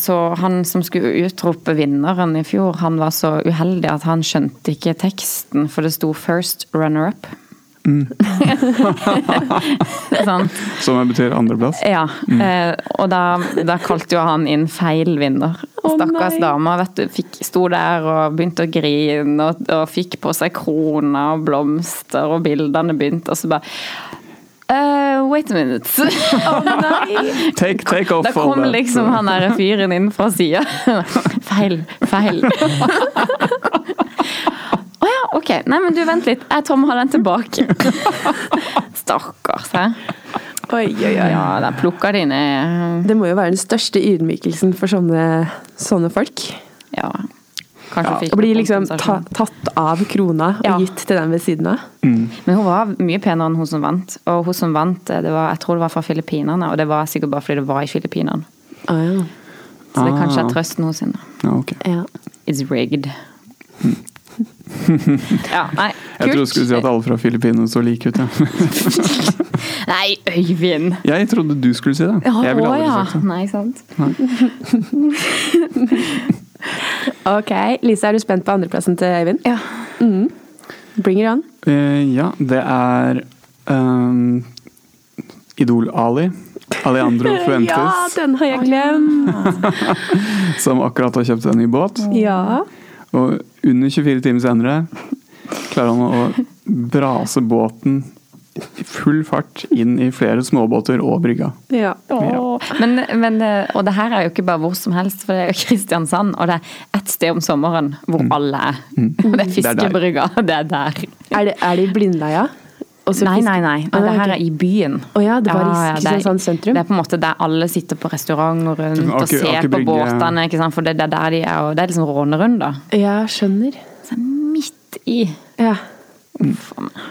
[SPEAKER 3] så Han som skulle utrope vinneren i fjor, han var så uheldig at han skjønte ikke teksten, for det sto 'first runner-up'. sånn.
[SPEAKER 2] Som betyr andreplass.
[SPEAKER 3] Ja, eh, og da, da kalte jo han inn feil vinner.
[SPEAKER 1] Å,
[SPEAKER 3] Stakkars
[SPEAKER 1] nei.
[SPEAKER 3] dama vet du, fikk, sto der og begynte å grine og, og fikk på seg kroner og blomster, og bildene begynte, og så bare eh, Wait a minute.
[SPEAKER 2] Take, take off
[SPEAKER 3] Da kom
[SPEAKER 2] all that.
[SPEAKER 3] liksom han der fyren inn fra sida. Feil, feil. Å ja, ok. Nei, men du, vent litt. Jeg tror vi har den tilbake. Stakkars, hæ.
[SPEAKER 1] Oi, oi, oi.
[SPEAKER 3] Ja, der plukka de ned.
[SPEAKER 1] Det må jo være den største ydmykelsen for sånne, sånne folk.
[SPEAKER 3] Ja. Kanskje fikk
[SPEAKER 1] Å bli liksom ta,
[SPEAKER 3] kompensasjon.
[SPEAKER 1] tatt av krona og
[SPEAKER 3] Ja.
[SPEAKER 1] gitt til den ved siden av.
[SPEAKER 3] Men hun var mye penere enn hun som vant. Og hun som vant, eh, det var, jeg tror det var fra Filippinene. Og det var sikkert bare fordi det var i Filippinene.
[SPEAKER 1] Å ja.
[SPEAKER 3] Så det kanskje
[SPEAKER 2] Ah.
[SPEAKER 3] er trøsten hos henne.
[SPEAKER 2] Ja, ok.
[SPEAKER 1] ja.
[SPEAKER 3] It's rigged. Ja, nei,
[SPEAKER 2] Jeg trodde du skulle si at alle fra Filippinene så like ut. Ja.
[SPEAKER 3] Nei, Øyvind!
[SPEAKER 2] Jeg trodde du skulle si det. Jeg ville aldri sagt det.
[SPEAKER 3] Nei, sant?
[SPEAKER 1] Ok, Lise, er du spent på andreplassen til Eivind?
[SPEAKER 3] Ja.
[SPEAKER 1] Bring it on.
[SPEAKER 2] Eh, ja, det er ehm, Idol-Ali. Alejandro
[SPEAKER 1] Ja,
[SPEAKER 2] Fuentes,
[SPEAKER 1] den har jeg glemt!
[SPEAKER 2] som akkurat har kjøpt en ny båt.
[SPEAKER 1] Mm. Ja.
[SPEAKER 2] Og under 24 timer senere klarer han å brase båten i full fart inn i flere småbåter og brygga.
[SPEAKER 1] ja.
[SPEAKER 3] Åh. Men, men, eh, og det her er jo ikke bare hvor som helst, for det er jo Kristiansand. Og det er ett sted om sommeren hvor alle er. Og det er
[SPEAKER 2] Mm. Det er der.
[SPEAKER 3] fiskebrygga. Det er der.
[SPEAKER 1] Er det, er det i Blindleia? Og så
[SPEAKER 3] Nei,
[SPEAKER 1] fisk-
[SPEAKER 3] nei, nei.
[SPEAKER 1] Ah,
[SPEAKER 3] det her
[SPEAKER 1] ok.
[SPEAKER 3] er i byen.
[SPEAKER 1] Å ja, det var i
[SPEAKER 3] det er-
[SPEAKER 1] Kristiansand sentrum?
[SPEAKER 3] Det er på en måte der alle sitter på restaurant og rundt og
[SPEAKER 2] Aker-
[SPEAKER 3] ser
[SPEAKER 2] Aker
[SPEAKER 3] på
[SPEAKER 2] Brygge.
[SPEAKER 3] båtene. Ikke sant? For det, det er der de er, og det er liksom rånerunder.
[SPEAKER 1] Ja, skjønner.
[SPEAKER 3] Så midt i
[SPEAKER 1] Ja.
[SPEAKER 3] Uff a meg.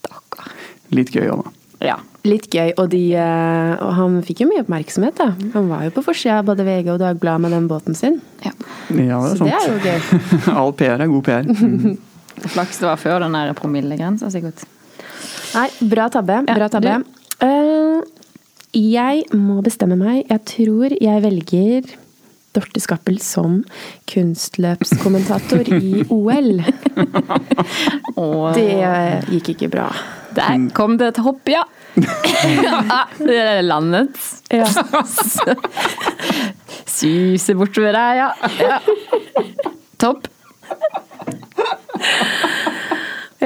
[SPEAKER 3] Stakkar.
[SPEAKER 2] Litt gøy òg, da.
[SPEAKER 3] Ja.
[SPEAKER 1] Litt gøy. Og, de, eh, og han fikk jo mye oppmerksomhet, da. Han var jo på forsida av både VG og Dagbladet med den båten sin.
[SPEAKER 3] ja.
[SPEAKER 2] Ja, det er
[SPEAKER 1] Så det er jo
[SPEAKER 2] sant.
[SPEAKER 1] gøy.
[SPEAKER 2] All PR er god PR.
[SPEAKER 3] Flaks det var før den der promillegrensa, sikkert.
[SPEAKER 1] Nei, bra tabbe.
[SPEAKER 3] Ja,
[SPEAKER 1] Bra tabbe. Eh, jeg må bestemme meg. Jeg tror jeg velger Dorte Skappel som kunstløpskommentator i OL.
[SPEAKER 3] Og
[SPEAKER 1] Det gikk ikke bra.
[SPEAKER 3] der kom det et hopp, ja! Ah, det landet.
[SPEAKER 1] Ja.
[SPEAKER 3] Suser bortover der, ja. ja. Topp.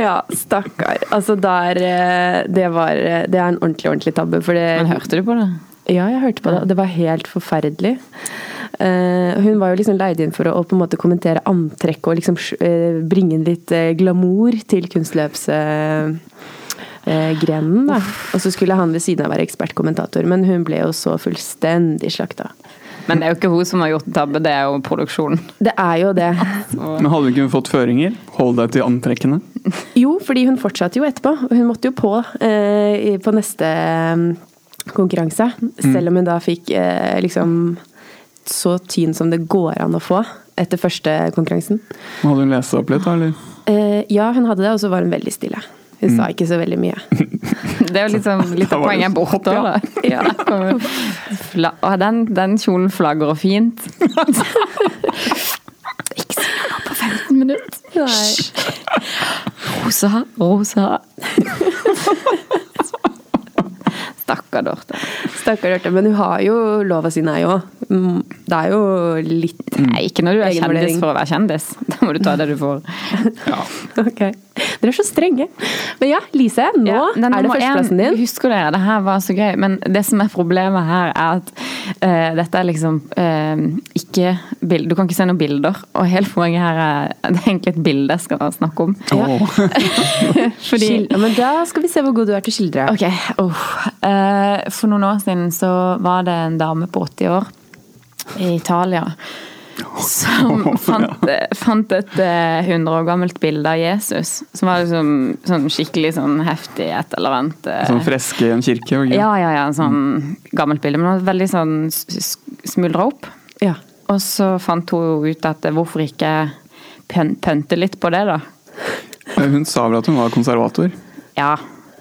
[SPEAKER 1] Ja, stakkar. Altså, der eh, Det var eh, Det er en ordentlig, ordentlig tabbe, for det
[SPEAKER 3] Men hørte du på det?
[SPEAKER 1] Ja, jeg hørte på det, og det var helt forferdelig. Eh, hun var jo liksom leid inn for å, å på en måte kommentere antrekk og liksom eh, bringe inn litt eh, glamour til kunstløpsgrenen. Eh, grenen, da. Og så skulle han ved siden av være ekspertkommentator, men hun ble jo så fullstendig slakta.
[SPEAKER 3] Men det er jo ikke hun som har gjort en tabbe, det er jo produksjonen.
[SPEAKER 1] Det er jo det.
[SPEAKER 2] Men hadde vi ikke fått føringer? Hold deg til antrekkene.
[SPEAKER 1] Jo, fordi hun fortsatte jo etterpå. og Hun måtte jo på eh, i- på neste eh, konkurranse. Selv om hun da fikk eh, liksom så tyn som det går an å få etter første konkurransen.
[SPEAKER 2] Må Hadde hun lest seg opp litt, da? Eller?
[SPEAKER 1] Eh, ja, hun hadde det, og så var hun veldig stille. Hun sa ikke så veldig mye.
[SPEAKER 3] Det er jo liksom litt
[SPEAKER 2] Da
[SPEAKER 3] av
[SPEAKER 2] var det
[SPEAKER 3] poenget bort da.
[SPEAKER 1] Ja.
[SPEAKER 3] Fla- Å, Den, den kjolen flagrer fint. Ikke si noe på 15 minutter.
[SPEAKER 1] Nei.
[SPEAKER 3] Rosa, rosa. Stakkar Dorte.
[SPEAKER 1] Stakkar Hjerte. Men hun har jo lov å si nei òg. Det er jo litt
[SPEAKER 3] Nei, ikke når du er
[SPEAKER 1] Egenvurdering.
[SPEAKER 3] kjendis for å være kjendis. Da må du ta det du får.
[SPEAKER 1] Ok. Dere er så strenge. Men ja, Lise, nå
[SPEAKER 3] Ja, den
[SPEAKER 1] er det
[SPEAKER 3] nummer
[SPEAKER 1] førsteplassen
[SPEAKER 3] én,
[SPEAKER 1] din.
[SPEAKER 3] Husker dere, det her var så gøy. Men det som er problemet her, er at eh, dette er liksom eh, ikke bild, Du kan ikke se noen bilder. Og hele poenget her er det er egentlig et bilde jeg skal snakke om.
[SPEAKER 1] Ja.
[SPEAKER 2] Åh.
[SPEAKER 3] Fordi
[SPEAKER 1] Skil- Men da skal vi se hvor god du er til å skildre.
[SPEAKER 3] Ok, uff. Eh, For noen år siden så var det en dame på 80 år i Italia som fant, fant et eh, 100 år gammelt bilde av Jesus. Som var liksom, sånn skikkelig sånn heftig et eller annet. eh,
[SPEAKER 2] Sånn freske i en kirke. og gøy.
[SPEAKER 3] Ja, ja, ja. en Sånn gammelt bilde. Men det var veldig sånn smuldra opp.
[SPEAKER 1] Ja.
[SPEAKER 3] Og så fant hun ut at eh, hvorfor ikke pøn- pønte litt på det, da.
[SPEAKER 2] Hun sa vel at hun var konservator.
[SPEAKER 3] Ja.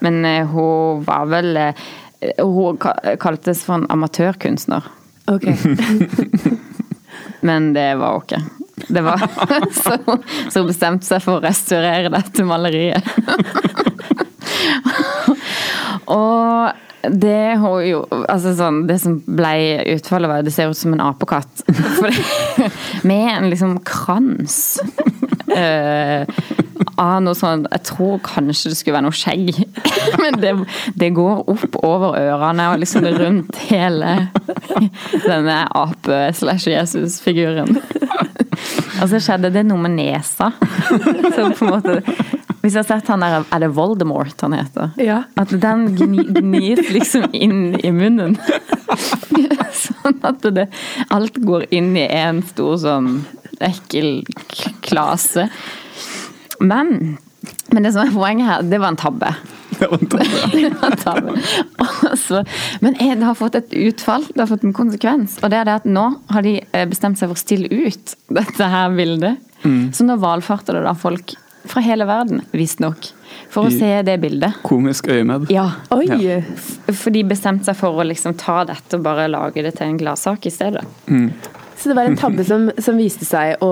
[SPEAKER 3] Men eh, hun var vel eh, Hun ka- kaltes for en amatørkunstner.
[SPEAKER 1] Ok.
[SPEAKER 3] Men det var hun ikke. Det var, så, så hun bestemte seg for å restaurere dette maleriet. Og det hun jo Altså sånn Det som ble utfallet, var det ser ut som en apekatt. Fordi, med en liksom krans. eh, av noe sånn Jeg tror kanskje det skulle være noe skjegg. Men det, det går opp over ørene og liksom rundt hele denne ape-slash-Jesus-figuren. Og så skjedde det noe med nesa. Så på en måte Hvis jeg har sett han der Er det Voldemort han heter?
[SPEAKER 1] Ja.
[SPEAKER 3] At den gni, gnis liksom inn i munnen. Sånn at det, alt går inn i en stor sånn ekkel k- klase. Men, men det som er poenget her, det var en tabbe.
[SPEAKER 2] Det var en tabbe.
[SPEAKER 3] Det var en tabbe. Og så- Men jeg- det har fått et utfall, det har fått en konsekvens. Og det er det at nå har de eh, bestemt seg for å stille ut dette her bildet. Så nå valfarter det da folk fra hele verden, visstnok, for å
[SPEAKER 2] I-
[SPEAKER 3] se det bildet.
[SPEAKER 2] Komisk øyemed.
[SPEAKER 3] Ja.
[SPEAKER 1] Oi!
[SPEAKER 2] Ja.
[SPEAKER 3] For de bestemte seg for å liksom ta dette og bare lage det til en gladsak i stedet.
[SPEAKER 1] Så det var en tabbe som, som viste seg å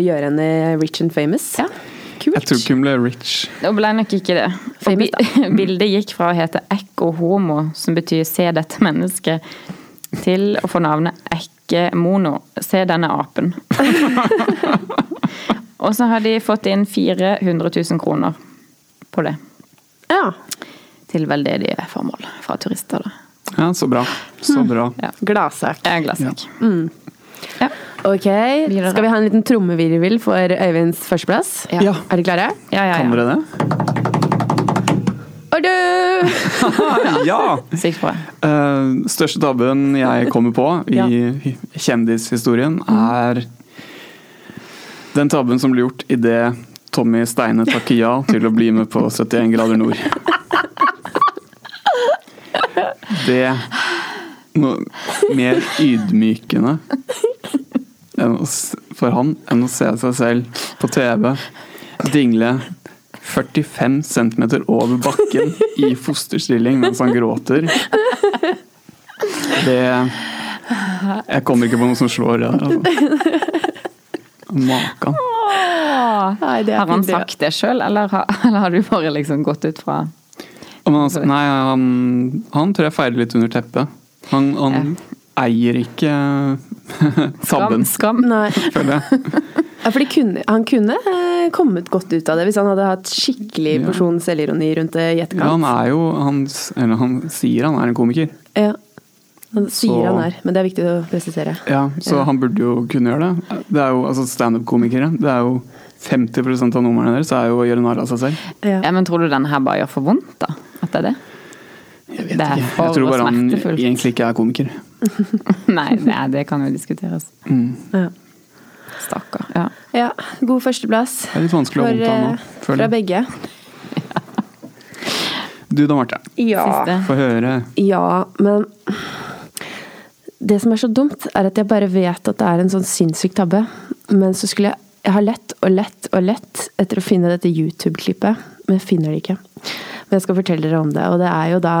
[SPEAKER 1] gjøre henne rich and famous?
[SPEAKER 3] Ja.
[SPEAKER 1] Kult.
[SPEAKER 2] Jeg tror ikke hun ble rich.
[SPEAKER 3] Det ble nok ikke det. For Mm.
[SPEAKER 1] Famous,
[SPEAKER 3] bi- bildet gikk fra å hete Ekko homo, som betyr se dette mennesket, til å få navnet Ekke mono, se denne apen. og så har de fått inn 400 000 kroner på det.
[SPEAKER 1] Ja.
[SPEAKER 3] Til veldedige formål fra turister, da.
[SPEAKER 2] Ja, så bra. Så bra.
[SPEAKER 3] Mm. Ja.
[SPEAKER 1] Gladsak.
[SPEAKER 3] Jeg er gladsak. Mm. Ja.
[SPEAKER 1] Ok,
[SPEAKER 3] Videre.
[SPEAKER 1] skal vi ha en liten trommevirvel for Øyvinds førsteplass?
[SPEAKER 3] Ja.
[SPEAKER 1] Er dere klare?
[SPEAKER 3] Ja, ja, ja.
[SPEAKER 2] Kan dere det?
[SPEAKER 1] Oi, Har du?
[SPEAKER 2] ja!
[SPEAKER 3] Sykt bra.
[SPEAKER 2] Eh, største tabben jeg kommer på i
[SPEAKER 1] Ja.
[SPEAKER 2] kjendishistorien, er den tabben som ble gjort idet Tommy Steine takker ja til å bli med på 71 grader nord. Det noe mer ydmykende enn å, s- for han enn å se seg selv på TV dingle 45 cm over bakken i fosterstilling mens han gråter. Det Jeg kommer ikke på noe som slår det der, altså. Makan.
[SPEAKER 1] Nei, det er
[SPEAKER 3] Har han
[SPEAKER 1] fint, det.
[SPEAKER 3] sagt det sjøl, eller, har- eller har du bare liksom gått ut fra
[SPEAKER 2] Men altså, nei, han, han tror jeg feiler litt under teppet. Han, han eier ikke
[SPEAKER 3] skam?
[SPEAKER 2] tabben,
[SPEAKER 3] skam?
[SPEAKER 1] Nei.
[SPEAKER 2] føler jeg.
[SPEAKER 1] Ja, for de kunne, han kunne eh, kommet godt ut av det hvis han hadde hatt skikkelig
[SPEAKER 2] Ja.
[SPEAKER 1] porsjon selvironi rundt det i
[SPEAKER 2] Ja, han
[SPEAKER 1] etterkant.
[SPEAKER 2] er jo han, s- Eller han sier han er en komiker.
[SPEAKER 1] Ja. Han sier
[SPEAKER 2] Så-
[SPEAKER 1] han er, men det er viktig å presisere.
[SPEAKER 2] Ja, så han burde jo kunne gjøre det. Det er jo altså standup-komikere. Det er jo 50 av numrene deres er jo å gjøre narr av seg selv.
[SPEAKER 1] Ja.
[SPEAKER 3] Ja, men tror du denne her bare gjør for vondt, da? At det er det?
[SPEAKER 2] Jeg
[SPEAKER 3] Det er for
[SPEAKER 2] Jeg tror bare han
[SPEAKER 3] smertefullt.
[SPEAKER 2] egentlig ikke er komiker.
[SPEAKER 3] Nei, nei, det kan jo diskuteres.
[SPEAKER 1] Ja.
[SPEAKER 3] Stakkar. Ja.
[SPEAKER 1] ja. God førsteplass.
[SPEAKER 2] Det er litt vanskelig å ha
[SPEAKER 1] For,
[SPEAKER 2] vondt av nå,
[SPEAKER 1] eh, fra
[SPEAKER 2] føler jeg.
[SPEAKER 1] begge.
[SPEAKER 2] Du da, Marte.
[SPEAKER 1] Ja.
[SPEAKER 3] Siste.
[SPEAKER 2] Få høre.
[SPEAKER 1] ja, men Det som er så dumt, er at jeg bare vet at det er en sånn sinnssyk tabbe. Men så skulle jeg Jeg har lett og lett og lett etter å finne dette YouTube-klippet, men jeg finner det ikke. Men jeg skal fortelle dere om det, og det er jo da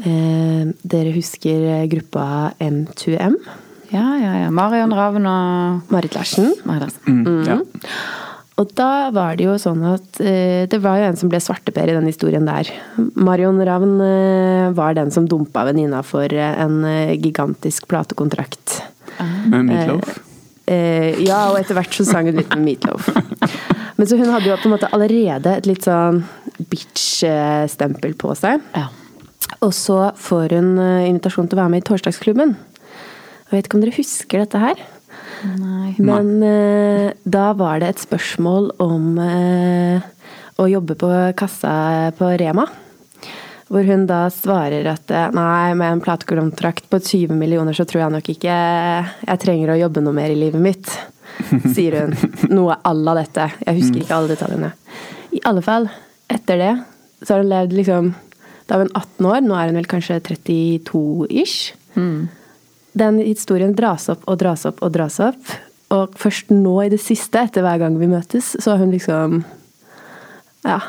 [SPEAKER 1] eh, Dere husker gruppa M2M?
[SPEAKER 3] ja, ja, ja. Marion Ravn og
[SPEAKER 1] Marit Larsen.
[SPEAKER 3] Marie Larsen.
[SPEAKER 2] Mm, ja.
[SPEAKER 1] Og da var det jo sånn at eh, det var jo en som ble svarteper i den historien der. Marion Ravn eh, var den som dumpa venninna for eh, en eh, gigantisk platekontrakt.
[SPEAKER 2] Med Ah. Meatloaf.
[SPEAKER 1] Mm. Eh, ja, og etter hvert så sang hun litt med Meatloaf. Men så hun hadde jo på en måte allerede et litt sånn bitch-stempel på seg.
[SPEAKER 3] Ja.
[SPEAKER 1] Og så får hun eh, invitasjon til å være med i Torsdagsklubben. Jeg vet ikke om dere husker dette her?
[SPEAKER 3] Nei.
[SPEAKER 1] Men eh, da var det et spørsmål om eh, å jobbe på kassa på Rema. Hvor hun da svarer at eh, nei, med en platekontrakt på 20 millioner så tror jeg nok ikke jeg trenger å jobbe noe mer i livet mitt. Sier hun. Noe à la dette. Jeg
[SPEAKER 3] Mm.
[SPEAKER 1] husker ikke alle detaljene. I alle fall, etter det så har hun levd liksom Da var hun 18 år, nå er hun vel kanskje 32-ish den historien dras opp og dras opp og dras opp. Og først nå i det siste, etter hver gang vi møtes, så har hun liksom ja,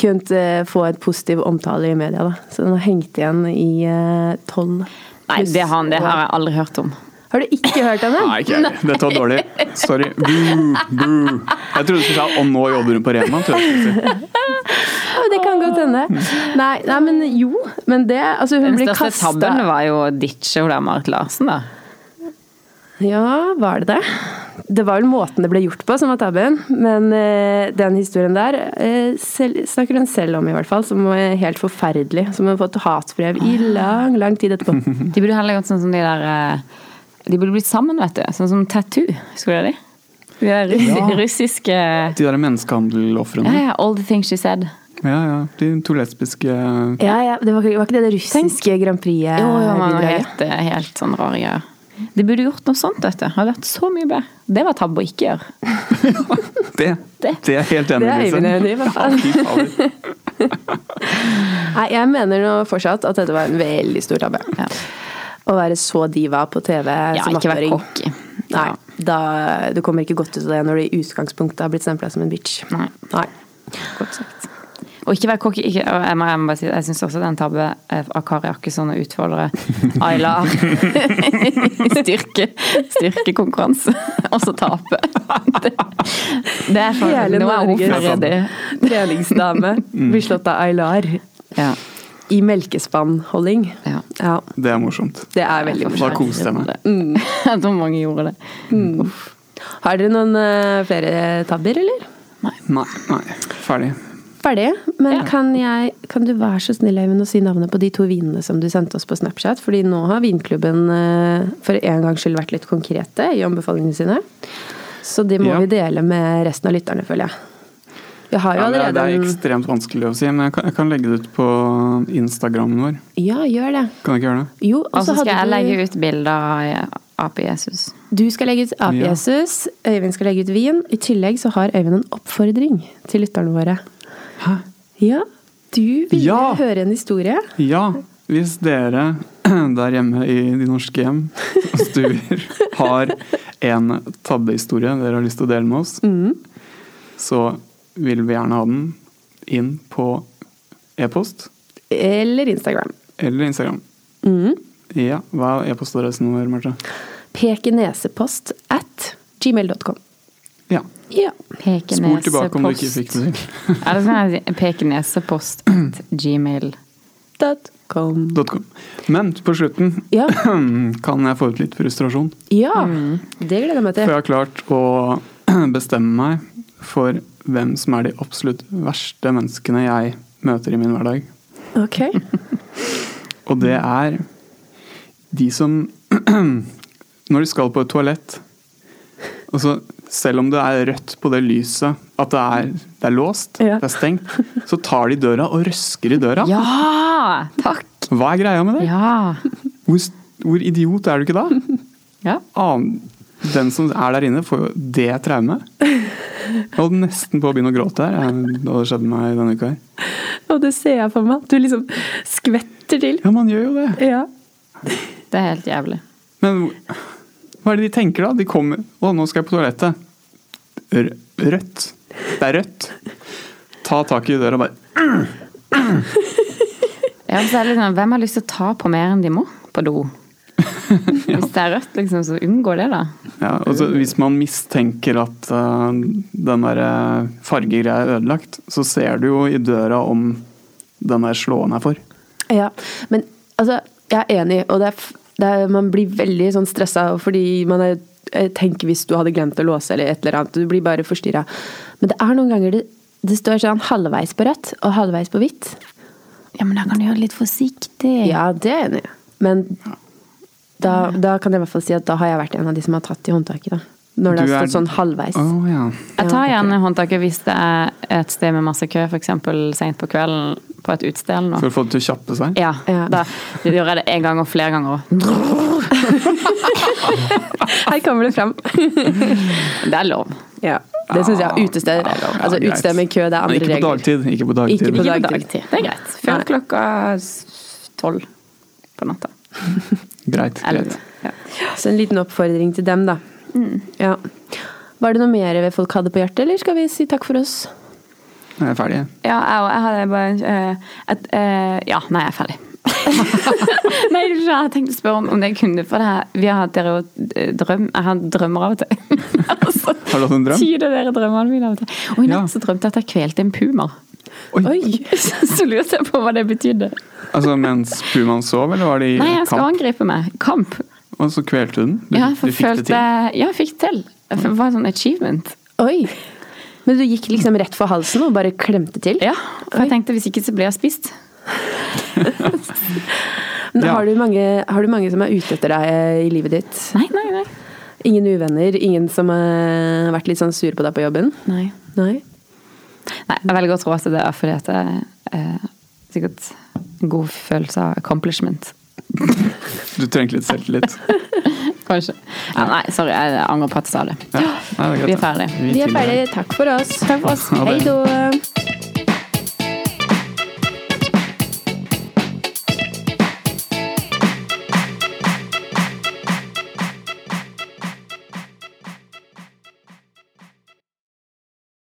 [SPEAKER 1] kunnet eh, få en positiv omtale i media. da. Så den har hengt igjen i eh, tolv
[SPEAKER 3] Nei, det, har han, det her har jeg aldri hørt om.
[SPEAKER 1] Har du ikke hørt henne?
[SPEAKER 2] Nei, ikke jeg. Dette var dårlig. Sorry. Boo, boo. Jeg trodde du skulle si 'og nå jobber hun på Rema'. Tror jeg. du skulle si.
[SPEAKER 1] Ja, men det kan godt hende. Nei, nei, men jo. Men det Altså, hun
[SPEAKER 3] Den
[SPEAKER 1] blir
[SPEAKER 3] største
[SPEAKER 1] kasta
[SPEAKER 3] tabben var jo å ditche hun der Marit Larsen, da.
[SPEAKER 1] Ja, var det det? Det var vel måten det ble gjort på som var tabben. Men eh, den historien der eh, selv, snakker hun selv om, i hvert fall. Som er helt forferdelig. Som hun har fått hatbrev i lang, lang tid etterpå.
[SPEAKER 3] De burde heller gjort sånn som de der eh, De burde blitt sammen, vet du. Sånn som Tattoo. Husker dere de? De der russ russiske ja,
[SPEAKER 2] De der menneskehandelofrene.
[SPEAKER 3] ja, All the things she said.
[SPEAKER 2] Ja, ja. De to lesbiske
[SPEAKER 1] Ja, ja, det var, ikke- var ikke det det russiske Grand Prix-bidraget?
[SPEAKER 3] Jo, jo, man var helt, eh, helt sånn rare greier. De burde gjort noe sånt, vet du. Hadde vært så mye bedre. Det var tabbe å ikke gjøre.
[SPEAKER 2] Det,
[SPEAKER 3] Det-
[SPEAKER 2] det er jeg helt
[SPEAKER 1] Det
[SPEAKER 2] enig
[SPEAKER 1] er
[SPEAKER 2] i,
[SPEAKER 1] Øyvind
[SPEAKER 2] Lise.
[SPEAKER 1] enig i, hva faen.
[SPEAKER 2] Fy faen.
[SPEAKER 1] Nei, jeg mener nå fortsatt at dette var en veldig stor tabbe.
[SPEAKER 3] Ja.
[SPEAKER 1] Å være så diva på TV
[SPEAKER 3] Ja,
[SPEAKER 1] som
[SPEAKER 3] ikke være
[SPEAKER 1] 18-åring.
[SPEAKER 3] cocky.
[SPEAKER 1] Nei,
[SPEAKER 3] Ja.
[SPEAKER 1] da, du kommer ikke godt ut av det når du i utgangspunktet har blitt stempla som en bitch.
[SPEAKER 3] Nei.
[SPEAKER 1] Nei.
[SPEAKER 3] Godt sagt. Og ikke være cocky. Ikke, og jeg må, jeg må bare si, jeg syns også den tabbe eh, av Kari Akkesson å utfordre Ayla styrke styrkekonkurranse, og så tape. Det, det er for,
[SPEAKER 1] Hele
[SPEAKER 3] nå er hun
[SPEAKER 1] Norge.
[SPEAKER 3] ferdig.
[SPEAKER 1] Treningsdame
[SPEAKER 2] Mm.
[SPEAKER 1] blir slått av Aylar.
[SPEAKER 3] Ja.
[SPEAKER 1] I melkespannholding.
[SPEAKER 3] Ja.
[SPEAKER 1] ja.
[SPEAKER 2] Det er morsomt.
[SPEAKER 1] Det er veldig
[SPEAKER 2] Da
[SPEAKER 1] morsomt.
[SPEAKER 2] koste jeg meg.
[SPEAKER 3] Jeg tror Mm. mange gjorde det.
[SPEAKER 1] Mm. Har dere noen eh, flere tabber, eller?
[SPEAKER 2] Nei, nei. Ferdig.
[SPEAKER 1] Ferdig. Men
[SPEAKER 3] Ja.
[SPEAKER 1] kan, jeg, kan du være så snill Eivind, å si navnet på de to vinene som du sendte oss på Snapchat? Fordi nå har vinklubben eh, for en gangs skyld vært litt konkrete i anbefalingene sine. Så de må
[SPEAKER 2] Ja.
[SPEAKER 1] vi dele med resten av lytterne, føler jeg. Vi har jo
[SPEAKER 2] Ja, det, er, det
[SPEAKER 1] allerede en
[SPEAKER 2] er ekstremt vanskelig å si, men jeg kan, jeg kan legge det ut på Instagrammen vår.
[SPEAKER 1] Ja, gjør det.
[SPEAKER 2] Kan jeg ikke gjøre det?
[SPEAKER 1] Jo, og
[SPEAKER 3] Og
[SPEAKER 1] så
[SPEAKER 3] så skal jeg
[SPEAKER 1] hadde du
[SPEAKER 3] legge ut bilder av ape-Jesus.
[SPEAKER 1] Du skal legge ut
[SPEAKER 2] Ja.
[SPEAKER 1] ape-Jesus, Øyvind skal legge ut vin. I tillegg så har Øyvind en oppfordring til lytterne våre.
[SPEAKER 2] Hæ?
[SPEAKER 1] Ja, du ville
[SPEAKER 2] Ja!
[SPEAKER 1] høre en historie.
[SPEAKER 2] Ja, hvis dere der hjemme i de norske hjem og stuer har en tabbehistorie dere har lyst til å dele med oss, så vil vi gjerne ha den inn på e-post
[SPEAKER 1] Eller Instagram.
[SPEAKER 2] eller Instagram.
[SPEAKER 1] Mm.
[SPEAKER 2] Ja, Hva er e-postadressen vår, Marte?
[SPEAKER 1] Pekenesepost at gmail.com.
[SPEAKER 2] Ja.
[SPEAKER 1] Ja.
[SPEAKER 2] Spol tilbake om du ikke fikk
[SPEAKER 3] Pekenesepost.
[SPEAKER 2] det til.
[SPEAKER 3] Eller så kan jeg si pekenesepost at gmail.
[SPEAKER 1] Dot com.
[SPEAKER 2] .com. Men på slutten
[SPEAKER 1] Ja.
[SPEAKER 2] kan jeg få ut litt frustrasjon.
[SPEAKER 1] ja. Det gleder jeg meg
[SPEAKER 2] For
[SPEAKER 1] til.
[SPEAKER 2] jeg har klart å bestemme meg for hvem som er de absolutt verste menneskene jeg møter i min hverdag.
[SPEAKER 1] Ok.
[SPEAKER 2] Og det
[SPEAKER 3] Mm.
[SPEAKER 2] er de som Når de skal på et toalett og så Selv om det er rødt på det lyset, at det er, det er låst,
[SPEAKER 1] Ja.
[SPEAKER 2] det er stengt, så tar de døra og røsker i døra.
[SPEAKER 3] Ja! Takk!
[SPEAKER 2] Hva er greia med det?
[SPEAKER 3] Ja.
[SPEAKER 2] Hvor, s- hvor idiot er du ikke da?
[SPEAKER 3] ja.
[SPEAKER 2] annen- den som er der inne, får jo det traumet. Jeg holdt nesten på å begynne å gråte her eh, da det skjedde meg denne uka. her.
[SPEAKER 1] Og det ser jeg for meg. Du liksom skvetter til.
[SPEAKER 2] Ja, man gjør jo det.
[SPEAKER 1] Ja.
[SPEAKER 3] Det er helt jævlig.
[SPEAKER 2] Men hvor- hva er det de tenker da? De kommer Å, nå skal jeg på toalettet. Rø- Rødt. Det er rødt. Ta tak i døra og bare
[SPEAKER 3] Ja, så er det liksom, hvem har lyst til å ta på mer enn de må på do? Hvis det er rødt, liksom, så unngå det, da.
[SPEAKER 2] ja, og så Hvis man mistenker at eh, den der eh, fargegreia er ødelagt, så ser du jo i døra om den der slåen er for.
[SPEAKER 1] Ja, men altså, jeg er enig, og det er, f- det er, man blir veldig sånn stressa fordi man er, jeg tenker hvis du hadde glemt å låse eller et eller annet, du blir bare forstyrra. Men det er noen ganger det, det står sånn halvveis på rødt og halvveis på hvitt.
[SPEAKER 3] Ja, men da kan du gjøre det litt forsiktig.
[SPEAKER 1] Ja, det er jeg enig i. Men da, da kan jeg i hvert fall si at da har jeg vært en av de som har tatt i håndtaket, da. Når det har
[SPEAKER 2] Du er-
[SPEAKER 1] stått sånn halvveis.
[SPEAKER 2] Å ja.
[SPEAKER 3] Jeg tar gjerne håndtaket hvis det er et sted med masse kø, f.eks. seint på kvelden på et utested eller
[SPEAKER 2] For å
[SPEAKER 3] noe.
[SPEAKER 2] få det til å kjappe seg?
[SPEAKER 3] Ja,
[SPEAKER 1] Ja.
[SPEAKER 3] da gjør jeg det én gang og flere ganger òg.
[SPEAKER 1] Her kommer det fram.
[SPEAKER 3] Det er lov.
[SPEAKER 1] ja. Det syns
[SPEAKER 2] Ah,
[SPEAKER 1] jeg. Utested, altså,
[SPEAKER 2] greit.
[SPEAKER 1] utested med kø, det er andre
[SPEAKER 2] Men ikke på
[SPEAKER 1] regler.
[SPEAKER 2] dagtid. Ikke på dagtid.
[SPEAKER 1] Ikke på
[SPEAKER 3] Ikke på
[SPEAKER 1] dagtid.
[SPEAKER 3] dagtid. Det er greit.
[SPEAKER 1] Nei.
[SPEAKER 3] Før klokka s- tolv på natta.
[SPEAKER 2] Greit.
[SPEAKER 3] Eller,
[SPEAKER 2] greit.
[SPEAKER 3] ja.
[SPEAKER 1] Så en liten oppfordring til dem, da. Ja. Var det noe mer folk hadde på hjertet, eller skal vi si takk for oss?
[SPEAKER 2] Jeg er ferdig.
[SPEAKER 3] Ja, jeg òg. Jeg hadde bare eh, et, eh, Ja, nei, jeg er ferdig. nei, du skjønner, jeg tenkte å spørre om, om det kunne For det her, vi har hatt dere jo eh, drøm Jeg har drømmer av og til. altså,
[SPEAKER 2] Har du hatt en drøm?
[SPEAKER 3] Tyder dere drømmene mine av og til? Og i
[SPEAKER 2] Ja.
[SPEAKER 3] natt så drømte jeg at jeg kvelte en puma.
[SPEAKER 2] Oi.
[SPEAKER 1] Oi!
[SPEAKER 3] så lurte jeg på hva det betydde.
[SPEAKER 2] Altså mens pumaen sov, eller var det i
[SPEAKER 3] Nei, jeg skal
[SPEAKER 2] kamp?
[SPEAKER 3] angripe meg. Kamp.
[SPEAKER 2] Og så kvelte du den? Du,
[SPEAKER 3] Ja,
[SPEAKER 2] du
[SPEAKER 3] for
[SPEAKER 2] fikk det
[SPEAKER 3] følte
[SPEAKER 2] til?
[SPEAKER 3] Ja, jeg fikk det til. Det var en sånn achievement.
[SPEAKER 1] Oi! Men du gikk liksom rett for halsen og bare klemte til?
[SPEAKER 3] Ja, for jeg tenkte hvis ikke så blir jeg spist.
[SPEAKER 1] Men
[SPEAKER 2] Ja.
[SPEAKER 1] Har, du mange, har du mange som er ute etter deg eh, i livet ditt?
[SPEAKER 3] Nei, nei, nei.
[SPEAKER 1] Ingen uvenner? Ingen som har vært litt sånn sur på deg på jobben?
[SPEAKER 3] Nei.
[SPEAKER 1] Nei?
[SPEAKER 3] Nei, jeg velger å tro at det er fordi at det er sikkert en god følelse av accomplishment.
[SPEAKER 2] Du trengte litt selvtillit?
[SPEAKER 3] Kanskje. Ja, nei, sorry, jeg angrer på at jeg sa det.
[SPEAKER 2] Ja. Nei, det
[SPEAKER 3] Vi er ferdig.
[SPEAKER 1] Vi er ferdige. Takk for oss. Takk for oss.
[SPEAKER 2] Ha
[SPEAKER 1] Hei
[SPEAKER 2] det.
[SPEAKER 1] då.